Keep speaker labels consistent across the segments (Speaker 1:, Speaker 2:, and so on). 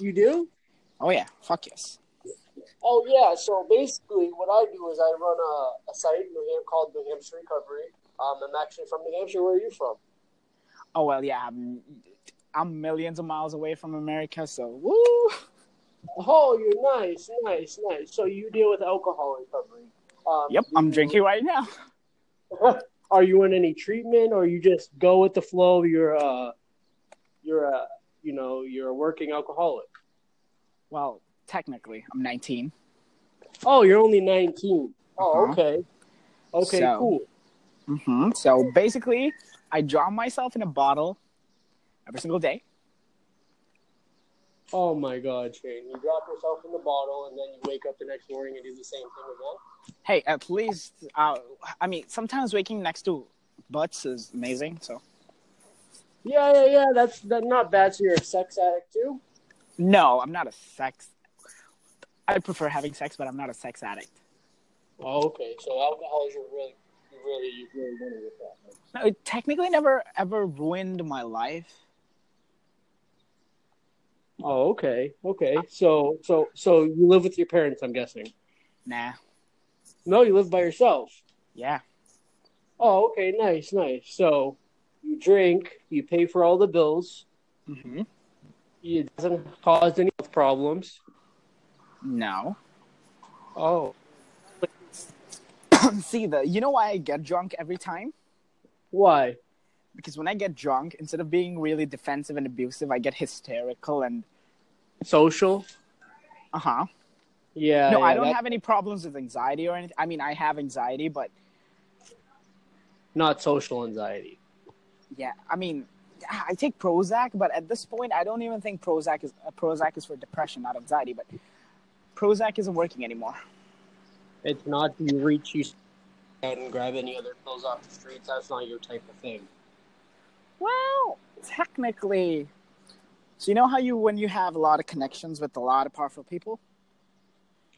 Speaker 1: You do?
Speaker 2: Oh yeah, fuck yes.
Speaker 3: Oh yeah. So basically, what I do is I run a, a site in New Hampshire called New Hampshire Recovery. Um, I'm actually from New Hampshire. Where are you from?
Speaker 2: Oh well, yeah. I'm, I'm millions of miles away from America, so woo.
Speaker 3: Oh, you're nice, nice, nice. So you deal with alcohol recovery. Um,
Speaker 2: Yep, I'm drinking right now.
Speaker 3: Are you in any treatment, or you just go with the flow? You're a, you're a, you know, you're a working alcoholic.
Speaker 2: Well, technically, I'm 19.
Speaker 3: Oh, you're only 19. Oh,
Speaker 2: Uh-huh.
Speaker 3: okay. Okay,
Speaker 2: So-
Speaker 3: cool.
Speaker 2: hmm So basically, I drown myself in a bottle every single day.
Speaker 3: Oh my God, Shane! You drop yourself in the bottle, and then you wake up the next morning and do the same thing again.
Speaker 2: Hey, at least uh, I mean, sometimes waking next to butts is amazing. So
Speaker 3: Yeah, yeah, yeah. That's that, not bad. So you're a sex addict too.
Speaker 2: no, I'm not a sex. I prefer having sex, but I'm not a sex addict.
Speaker 3: Oh, okay. So alcohol is your really, you really, you really winning with that. huh?
Speaker 2: No, it technically never ever ruined my life.
Speaker 3: Oh, okay, okay. So, so, so you live with your parents, I'm guessing.
Speaker 2: Nah.
Speaker 3: No, you live by yourself.
Speaker 2: Yeah.
Speaker 3: Oh, okay, nice, nice. So, you drink, you pay for all the bills.
Speaker 2: hmm
Speaker 3: It doesn't cause any health problems.
Speaker 2: No.
Speaker 3: Oh,
Speaker 2: See the. You know why I get drunk every time?
Speaker 3: why?
Speaker 2: Because when I get drunk, instead of being really defensive and abusive, I get hysterical and
Speaker 3: Social?
Speaker 2: uh huh.
Speaker 3: Yeah.
Speaker 2: no,
Speaker 3: Uh, yeah,
Speaker 2: I don't
Speaker 3: that-
Speaker 2: have any problems with anxiety or anything. I mean, I have anxiety, but
Speaker 3: not social anxiety.
Speaker 2: yeah, I mean, I take Prozac, but at this point, I don't even think Prozac is uh, Prozac is for depression, not anxiety. But Prozac isn't working anymore.
Speaker 3: It's not you reach you out and grab any other pills off the streets. That's not your type of thing.
Speaker 2: Well, technically, so you know how you when you have a lot of connections with a lot of powerful people.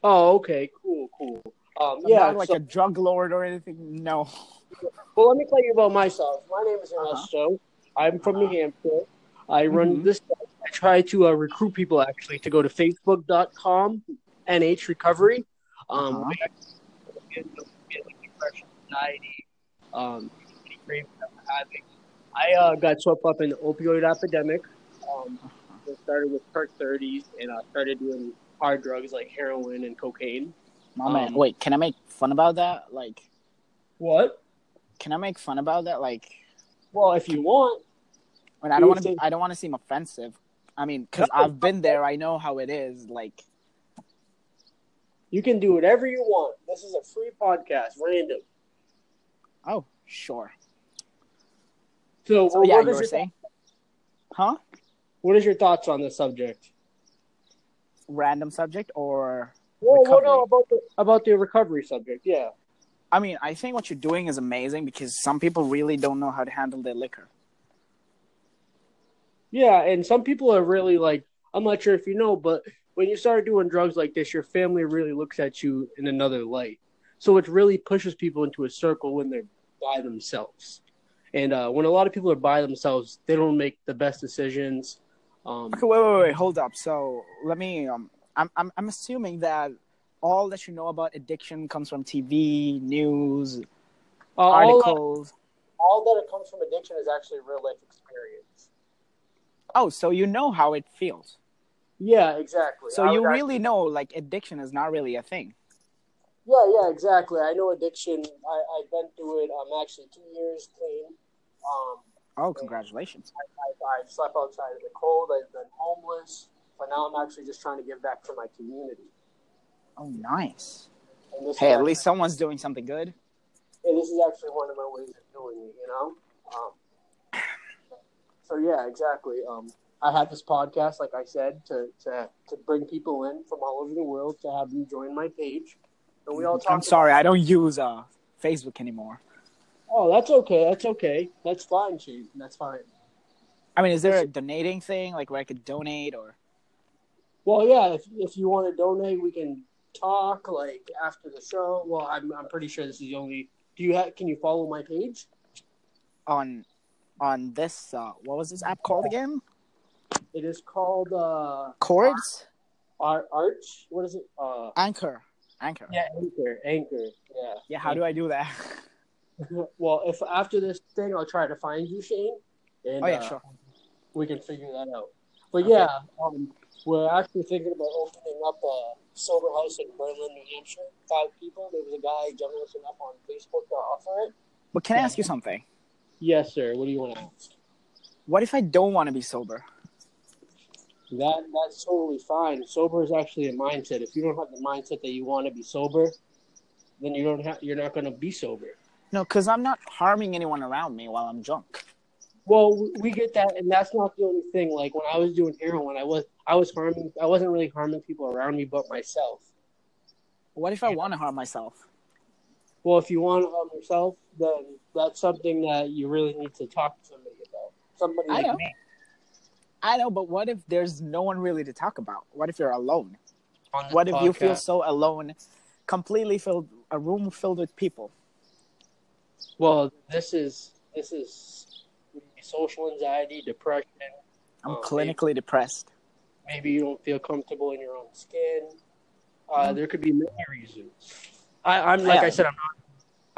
Speaker 3: Oh, okay, cool, cool. Um,
Speaker 2: I'm
Speaker 3: yeah.
Speaker 2: not like
Speaker 3: so-
Speaker 2: a drug lord or anything. No.
Speaker 3: Well, let me tell you about myself. My name is
Speaker 2: Uh-huh.
Speaker 3: Ernesto. I'm from New Hampshire. I run
Speaker 2: Mhm.
Speaker 3: this. I try to uh, recruit people actually to go to Facebook.com NH Recovery. Um,
Speaker 2: Uh-huh.
Speaker 3: get- get, like, depression, anxiety, um, any cravings that we're having. I uh, got swept up in the opioid epidemic. Um,
Speaker 2: Uh-huh.
Speaker 3: it started with perk 30s, and I started doing hard drugs like heroin and cocaine.
Speaker 2: My man,
Speaker 3: Um,
Speaker 2: wait, can I make fun about that? Like,
Speaker 3: What?
Speaker 2: can I make fun about that? Like,
Speaker 3: Well, if you want,
Speaker 2: I, mean, I
Speaker 3: You
Speaker 2: don't want to.
Speaker 3: think-
Speaker 2: I don't want to seem offensive. I mean, because I've been there. I know how it is. Like,
Speaker 3: you can do whatever you want. This is a free podcast, random.
Speaker 2: oh, sure.
Speaker 3: So,
Speaker 2: So
Speaker 3: what
Speaker 2: yeah,
Speaker 3: is
Speaker 2: you were
Speaker 3: your,
Speaker 2: saying, huh?
Speaker 3: what is your thoughts on the subject?
Speaker 2: Random subject, or
Speaker 3: Well, well, no,
Speaker 2: Recovery.
Speaker 3: about the about the recovery subject. Yeah.
Speaker 2: I mean, I think what you're doing is amazing because some people really don't know how to handle their liquor.
Speaker 3: Yeah, and some people are really like, I'm not sure if you know, but when you start doing drugs like this, your family really looks at you in another light. So it really pushes people into a circle when they're by themselves. And uh, when a lot of people are by themselves, they don't make the best decisions. Um,
Speaker 2: Okay, wait, wait, wait, hold up. So let me. Um, I'm, I'm, I'm assuming that all that you know about addiction comes from TV, news,
Speaker 3: uh, all,
Speaker 2: articles.
Speaker 3: all that it comes from addiction is actually real life experience.
Speaker 2: Oh, so you know how it feels.
Speaker 3: Yeah, exactly.
Speaker 2: So
Speaker 3: I
Speaker 2: you
Speaker 3: was actually-
Speaker 2: really know, like, addiction is not really a thing.
Speaker 3: Yeah, yeah, exactly. I know addiction. I, I've been through it. I'm actually two years clean. Um,
Speaker 2: Oh, congratulations.
Speaker 3: I, I slept outside in the cold. I've been homeless, but now I'm actually just trying to give back to my community.
Speaker 2: Oh, nice.
Speaker 3: And this
Speaker 2: Hey,
Speaker 3: is
Speaker 2: at
Speaker 3: actually,
Speaker 2: least someone's doing something good.
Speaker 3: and this is actually one of my ways of doing it. You know. Um, so yeah, exactly. Um, I had this podcast, like I said, to, to to bring people in from all over the world to have them join my page, and we all talk.
Speaker 2: I'm sorry, I don't use uh, Facebook anymore.
Speaker 3: oh, that's okay. That's okay. That's fine, Shane. That's fine.
Speaker 2: I mean, is there a donating thing, like, where I could donate or?
Speaker 3: Well, yeah, if, if you want to donate, we can talk like after the show. Well, I'm I'm pretty sure this is the only. Do you have? Can you follow my page?
Speaker 2: on on this uh, what was this app called again?
Speaker 3: It is called uh,
Speaker 2: Chords,
Speaker 3: Ar- Arch. What is it? Uh,
Speaker 2: anchor, anchor.
Speaker 3: yeah, Anchor. Anchor. Yeah.
Speaker 2: Yeah, how do I do that?
Speaker 3: Well, if after this thing, I'll try to find you, Shane. And,
Speaker 2: oh yeah,
Speaker 3: uh,
Speaker 2: sure.
Speaker 3: we can figure that out. But
Speaker 2: Okay.
Speaker 3: yeah, um, we're actually thinking about opening up a sober house in Berlin, New Hampshire. Five people. There was a guy generous enough on Facebook to offer it.
Speaker 2: But can I
Speaker 3: yeah.
Speaker 2: ask you something?
Speaker 3: Yes, sir. What do you want to ask?
Speaker 2: What if I don't want to be sober?
Speaker 3: That that's totally fine. Sober is actually a mindset. If you don't have the mindset that you want to be sober, then you don't have. You're not going to be sober.
Speaker 2: No, because I'm not harming anyone around me while I'm drunk.
Speaker 3: Well, w- we get that, and that's not the only thing. Like when I was doing heroin, I was I was harming. I wasn't really harming people around me, but myself.
Speaker 2: What if I want to harm myself?
Speaker 3: Well, if you want to harm yourself, then that's something that you really need to talk to somebody about. Somebody
Speaker 2: I
Speaker 3: like
Speaker 2: know.
Speaker 3: me.
Speaker 2: I know, but what if there's no one really to talk about? What if you're alone?
Speaker 3: On this
Speaker 2: What if you feel
Speaker 3: podcast.
Speaker 2: so alone, completely filled, a room filled with people?
Speaker 3: Well, this is this is social anxiety, depression.
Speaker 2: I'm
Speaker 3: Oh,
Speaker 2: clinically depressed.
Speaker 3: Maybe you don't feel comfortable in your own skin. Uh, there could be many reasons. I, I'm like
Speaker 2: Mm-hmm. Yeah.
Speaker 3: I said, I'm not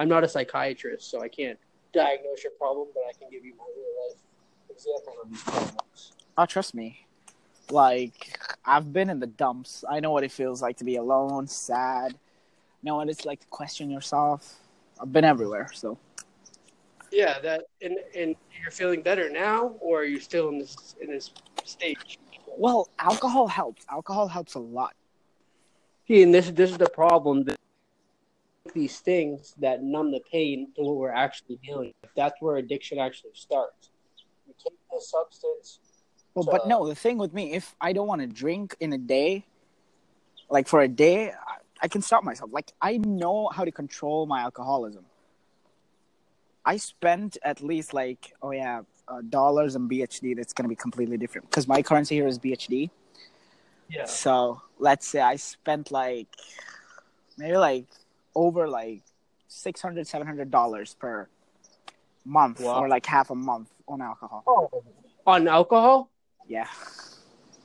Speaker 3: I'm not a psychiatrist, so I can't diagnose your problem, but I can give you my real life examples of these problems.
Speaker 2: Oh, trust me. Like, I've been in the dumps. I know what it feels like to be alone, sad. know what it's like to question yourself. I've been everywhere, so.
Speaker 3: Yeah, that and and you're feeling better now, or are you still in this in this stage?
Speaker 2: Well, alcohol helps. Alcohol helps a lot.
Speaker 3: See, and this this is the problem. that These things that numb the pain to what we're actually dealing with. That's where addiction actually starts. You take this substance.
Speaker 2: Well, but
Speaker 3: So-
Speaker 2: no, the thing with me, if I don't want to drink in a day, like for a day, I- I can stop myself. Like I know how to control my alcoholism. I spent at least like oh yeah, uh, dollars and BHD. That's gonna be completely different because my currency here is BHD.
Speaker 3: Yeah.
Speaker 2: So let's say I spent like maybe like over like 600 dollars per month
Speaker 3: Wow.
Speaker 2: or like half a month on alcohol.
Speaker 3: Oh. On alcohol.
Speaker 2: Yeah.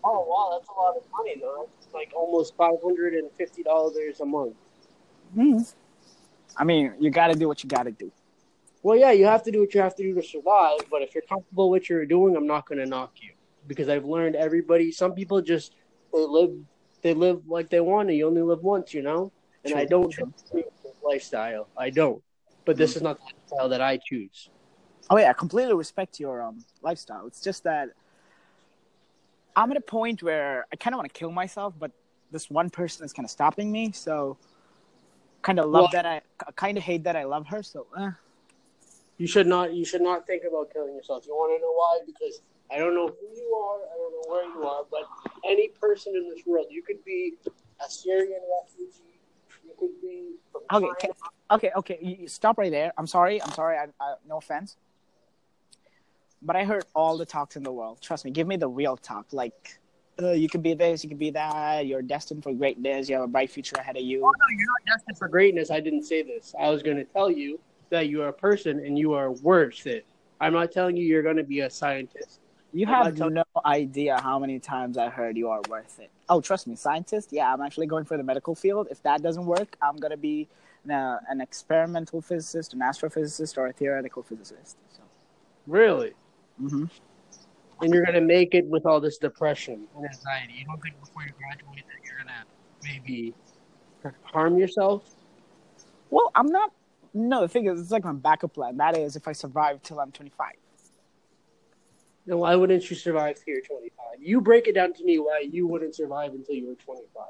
Speaker 3: Oh wow, that's a lot of money though. That's like almost five hundred and fifty dollars a month.
Speaker 2: I mean, you got to do what you got to do.
Speaker 3: Well, yeah, you have to do what you have to do to survive. But if you're comfortable with what you're doing, I'm not going to knock you because I've learned everybody. Some people just they live they live like they want to. You only live once, you know. And
Speaker 2: True,
Speaker 3: I don't
Speaker 2: true.
Speaker 3: choose this lifestyle. I don't. But
Speaker 2: Mm.
Speaker 3: this is not the lifestyle that I choose.
Speaker 2: Oh yeah, I completely respect your um lifestyle. It's just that I'm at a point where I kind of want to kill myself, but this one person is kind of stopping me. So, kind of love
Speaker 3: Well-
Speaker 2: that I kind of hate that I love her. So, eh.
Speaker 3: You should not. You should not think about killing yourself. You want to know why? Because I don't know who you are. I don't know where you are. But any person in this world, you could be a Syrian refugee. You could be from
Speaker 2: Okay,
Speaker 3: China.
Speaker 2: can- okay, okay. You, you stop right there. I'm sorry. I'm sorry. I, I, no offense. But I heard all the talks in the world. Trust me. Give me the real talk. Like, uh, you could be this. You could be that. You're destined for greatness. You have a bright future ahead of you.
Speaker 3: Oh no, you're not destined for greatness. I didn't say this. I was going to tell you that you are a person and you are worth it. I'm not telling you you're going to be a scientist.
Speaker 2: You
Speaker 3: I'd
Speaker 2: have
Speaker 3: like to-
Speaker 2: no idea how many times I heard you are worth it. Oh, trust me, scientist. Yeah, I'm actually going for the medical field. If that doesn't work, I'm gonna be an, uh, an experimental physicist, an astrophysicist, or a theoretical physicist. So,
Speaker 3: Really?
Speaker 2: hmm
Speaker 3: And you're going to make it with all this depression and anxiety. You don't think before you graduate that you're going to maybe harm yourself?
Speaker 2: Well, I'm not. No, the thing is, it's like my backup plan. That is, if I survive till I'm 25.
Speaker 3: Then why wouldn't you survive till you're 25? You break it down to me why you wouldn't survive until you were 25.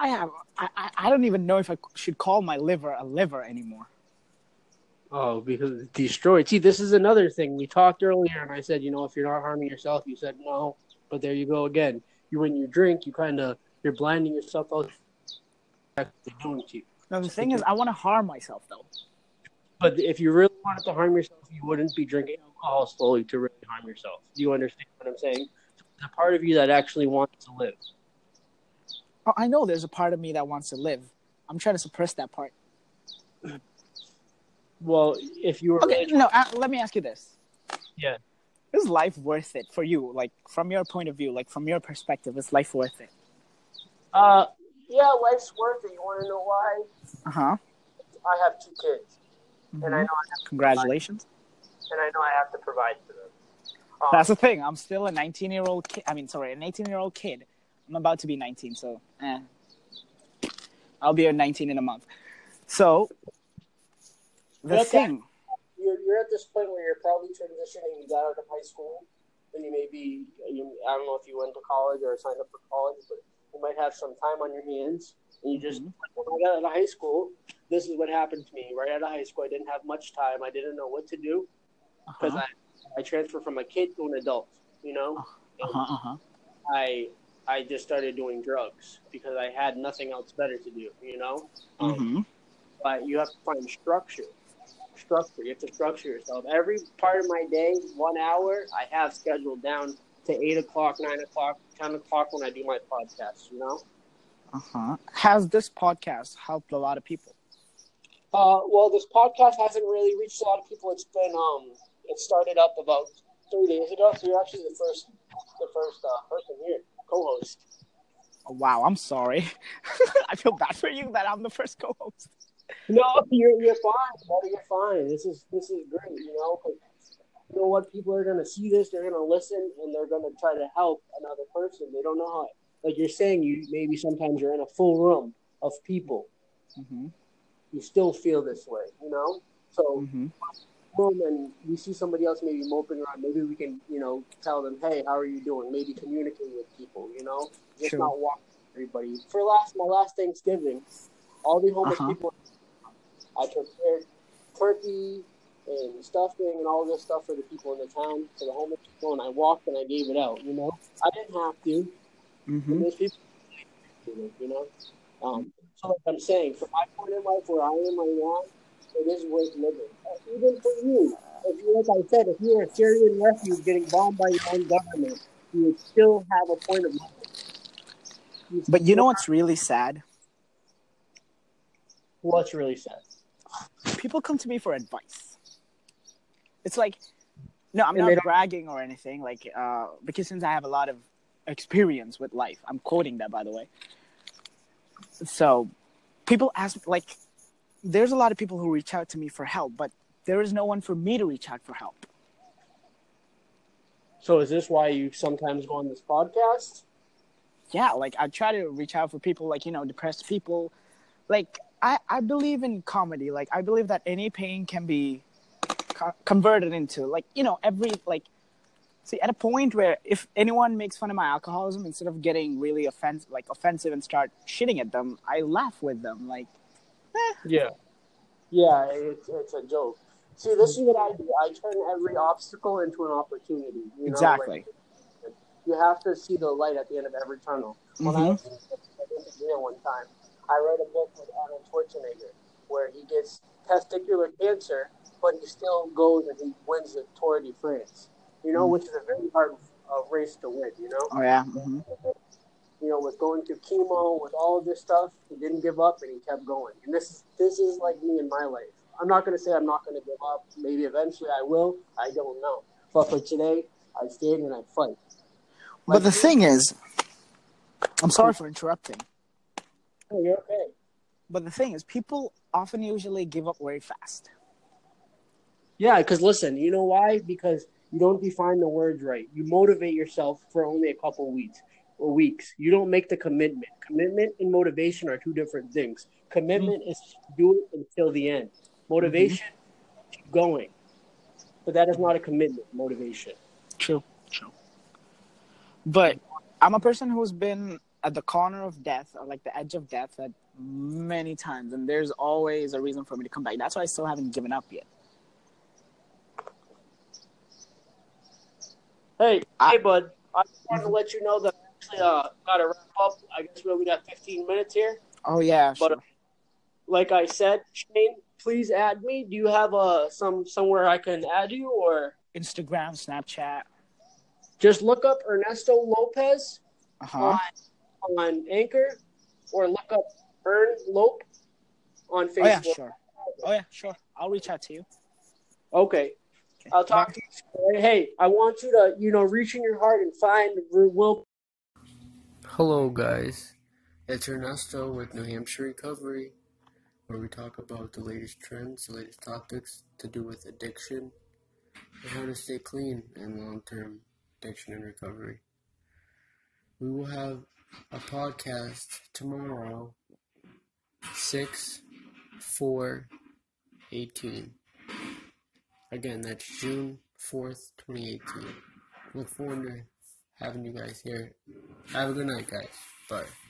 Speaker 2: I have. I, I, I don't even know if I should call my liver a liver anymore.
Speaker 3: Oh, because it's destroyed. See, this is another thing. We talked earlier, and I said, you know, if you're not harming yourself, you said no. But there you go again. You when you drink, you kind of you're blinding yourself out. Actually doing to you.
Speaker 2: No, the thing is, I want to harm myself though.
Speaker 3: But if you really wanted to harm yourself, you wouldn't be drinking alcohol slowly to really harm yourself. Do you understand what I'm saying? The part of you that actually wants to live.
Speaker 2: Oh, I know there's a part of me that wants to live. I'm trying to suppress that part.
Speaker 3: Well, if you were
Speaker 2: Okay,
Speaker 3: really-
Speaker 2: no. Uh, let me ask you this.
Speaker 3: Yeah.
Speaker 2: is life worth it for you? Like from your point of view, like from your perspective, is life worth it?
Speaker 3: Uh, yeah, life's worth it. You want to know why?
Speaker 2: Uh huh.
Speaker 3: I have two kids, and I know I have,
Speaker 2: Mm-hmm. Congratulations.
Speaker 3: and I know I have to provide for them. Um,
Speaker 2: That's the thing. I'm still a 19 year old kid. I mean, sorry, an 18 year old kid. I'm about to be 19, so eh. I'll be a 19 in a month. So the
Speaker 3: Okay.
Speaker 2: thing,
Speaker 3: you're, you're at this point where you're probably transitioning. You got out of high school, and you may be. You, I don't know if you went to college or signed up for college, but you might have some time on your hands. And you just, when I got out of high school, this is what happened to me. Right out of high school, I didn't have much time. I didn't know what to do because
Speaker 2: uh-huh,
Speaker 3: I, I transferred from a kid to an adult. You know,
Speaker 2: uh-huh, uh-huh.
Speaker 3: I I just started doing drugs because I had nothing else better to do. You know. Um,
Speaker 2: Mhm.
Speaker 3: but you have to find structure. Structure. You have to structure yourself. Every part of my day, one hour, I have scheduled down to eight o'clock, nine o'clock, ten o'clock when I do my podcast. You know.
Speaker 2: Uh-huh. Has this podcast helped a lot of people?
Speaker 3: Uh, well, this podcast hasn't really reached a lot of people. It's been um, it started up about three days ago. So you're actually the first, the first uh, person here, co-host.
Speaker 2: Oh, wow, I'm sorry. I feel bad for you that I'm the first co-host.
Speaker 3: No, you're you're fine, buddy. You're fine. This is this is great. You know, 'cause you know what? People are gonna see this. They're gonna listen, and they're gonna try to help another person. They don't know how. Like you're saying, you maybe sometimes you're in a full room of people.
Speaker 2: Mm-hmm.
Speaker 3: You still feel this way, you know. So,
Speaker 2: Mm-hmm.
Speaker 3: boom, and we see somebody else maybe moping around. Maybe we can, you know, tell them, hey, how are you doing? Maybe communicate with people, you know, just
Speaker 2: Sure.
Speaker 3: not walk everybody. For last, my last Thanksgiving, all the homeless
Speaker 2: Uh-huh.
Speaker 3: people, I prepared turkey and stuffing and all this stuff for the people in the town, for the homeless people, and I walked and I gave it out, you know. I didn't have to.
Speaker 2: Mm-hmm.
Speaker 3: There's people, you know. Um, so like I'm saying, from my point in life, where I am right now, it is worth living. Uh, Even for you, if you, like I said, if you're a Syrian refugee getting bombed by your own government, you would still have a point of living.
Speaker 2: But you know what's really sad?
Speaker 3: What's really sad?
Speaker 2: people come to me for advice. It's like, no, I'm
Speaker 3: And they
Speaker 2: not
Speaker 3: don't-
Speaker 2: bragging or anything. Like, uh, because since I have a lot of experience with life, I'm quoting that by the way. So, people ask like, there's a lot of people who reach out to me for help, but there is no one for me to reach out for help.
Speaker 3: So is this why you sometimes go on this podcast?
Speaker 2: yeah, like I try to reach out for people, like you know, depressed people. Like I, I believe in comedy. Like I believe that any pain can be co- converted into, like you know, every like. See, at a point where if anyone makes fun of my alcoholism, instead of getting really offense, like offensive and start shitting at them, I laugh with them. Like
Speaker 4: Yeah.
Speaker 3: Yeah, it's, it's a joke. See, this is what I do. I turn every obstacle into an opportunity. You know, like,
Speaker 2: exactly.
Speaker 3: you have to see the light at the end of every tunnel. When
Speaker 2: Mm-hmm.
Speaker 3: I was in Japan one time, I read a book with Arnold Schwarzenegger where he gets testicular cancer, but he still goes and he wins the Tour de France. You know,
Speaker 2: Mm.
Speaker 3: which is a very hard uh, race to win. You know,
Speaker 2: Oh yeah. hmm
Speaker 3: you know, with going through chemo, with all of this stuff, he didn't give up and he kept going. And this is this is like me in my life. I'm not gonna say I'm not gonna give up. Maybe eventually I will. I don't know. But for today, I stayed and I fight.
Speaker 2: But the
Speaker 3: Like-
Speaker 2: thing is, I'm sorry for interrupting.
Speaker 3: Oh, you're okay.
Speaker 2: But the thing is, people often usually give up very fast.
Speaker 3: Yeah, because listen, you know why? Because you don't define the words right. You motivate yourself for only a couple weeks or weeks. You don't make the commitment. Commitment and motivation are two different things. Commitment is to do it until the end. Motivation, keep going. But that is not a commitment. Motivation.
Speaker 2: True. True. But I'm a person who's been at the corner of death, or like the edge of death, at many times, and there's always a reason for me to come back. That's why I still haven't given up yet.
Speaker 3: Hey,
Speaker 2: I-
Speaker 3: hey, bud. I Mm-hmm. just wanted to let you know that I actually uh, got to wrap up. I guess we only got 15 minutes here.
Speaker 2: Oh yeah,
Speaker 3: But, uh, Like I said, Shane, please add me. Do you have uh, some somewhere I can add you or?
Speaker 2: Instagram, Snapchat.
Speaker 3: just look up Ernesto Lopez
Speaker 2: Uh huh.
Speaker 3: on, on Anchor or look up Ern Lope on
Speaker 2: Oh yeah,
Speaker 3: Facebook.
Speaker 2: sure. Oh yeah, sure. I'll reach out to you.
Speaker 3: Okay.
Speaker 1: I'll talk to you. Hey, I want you to, you know, reach in your heart and find Will.
Speaker 5: Hello, guys. It's Ernesto with New Hampshire Recovery, where we talk about the latest trends, the latest topics to do with addiction, and how to stay clean in long term addiction and recovery. We will have a podcast tomorrow, 6 4 18. Again, that's June 4th, 2018. Look forward to having you guys here. Have a good night, guys. Bye.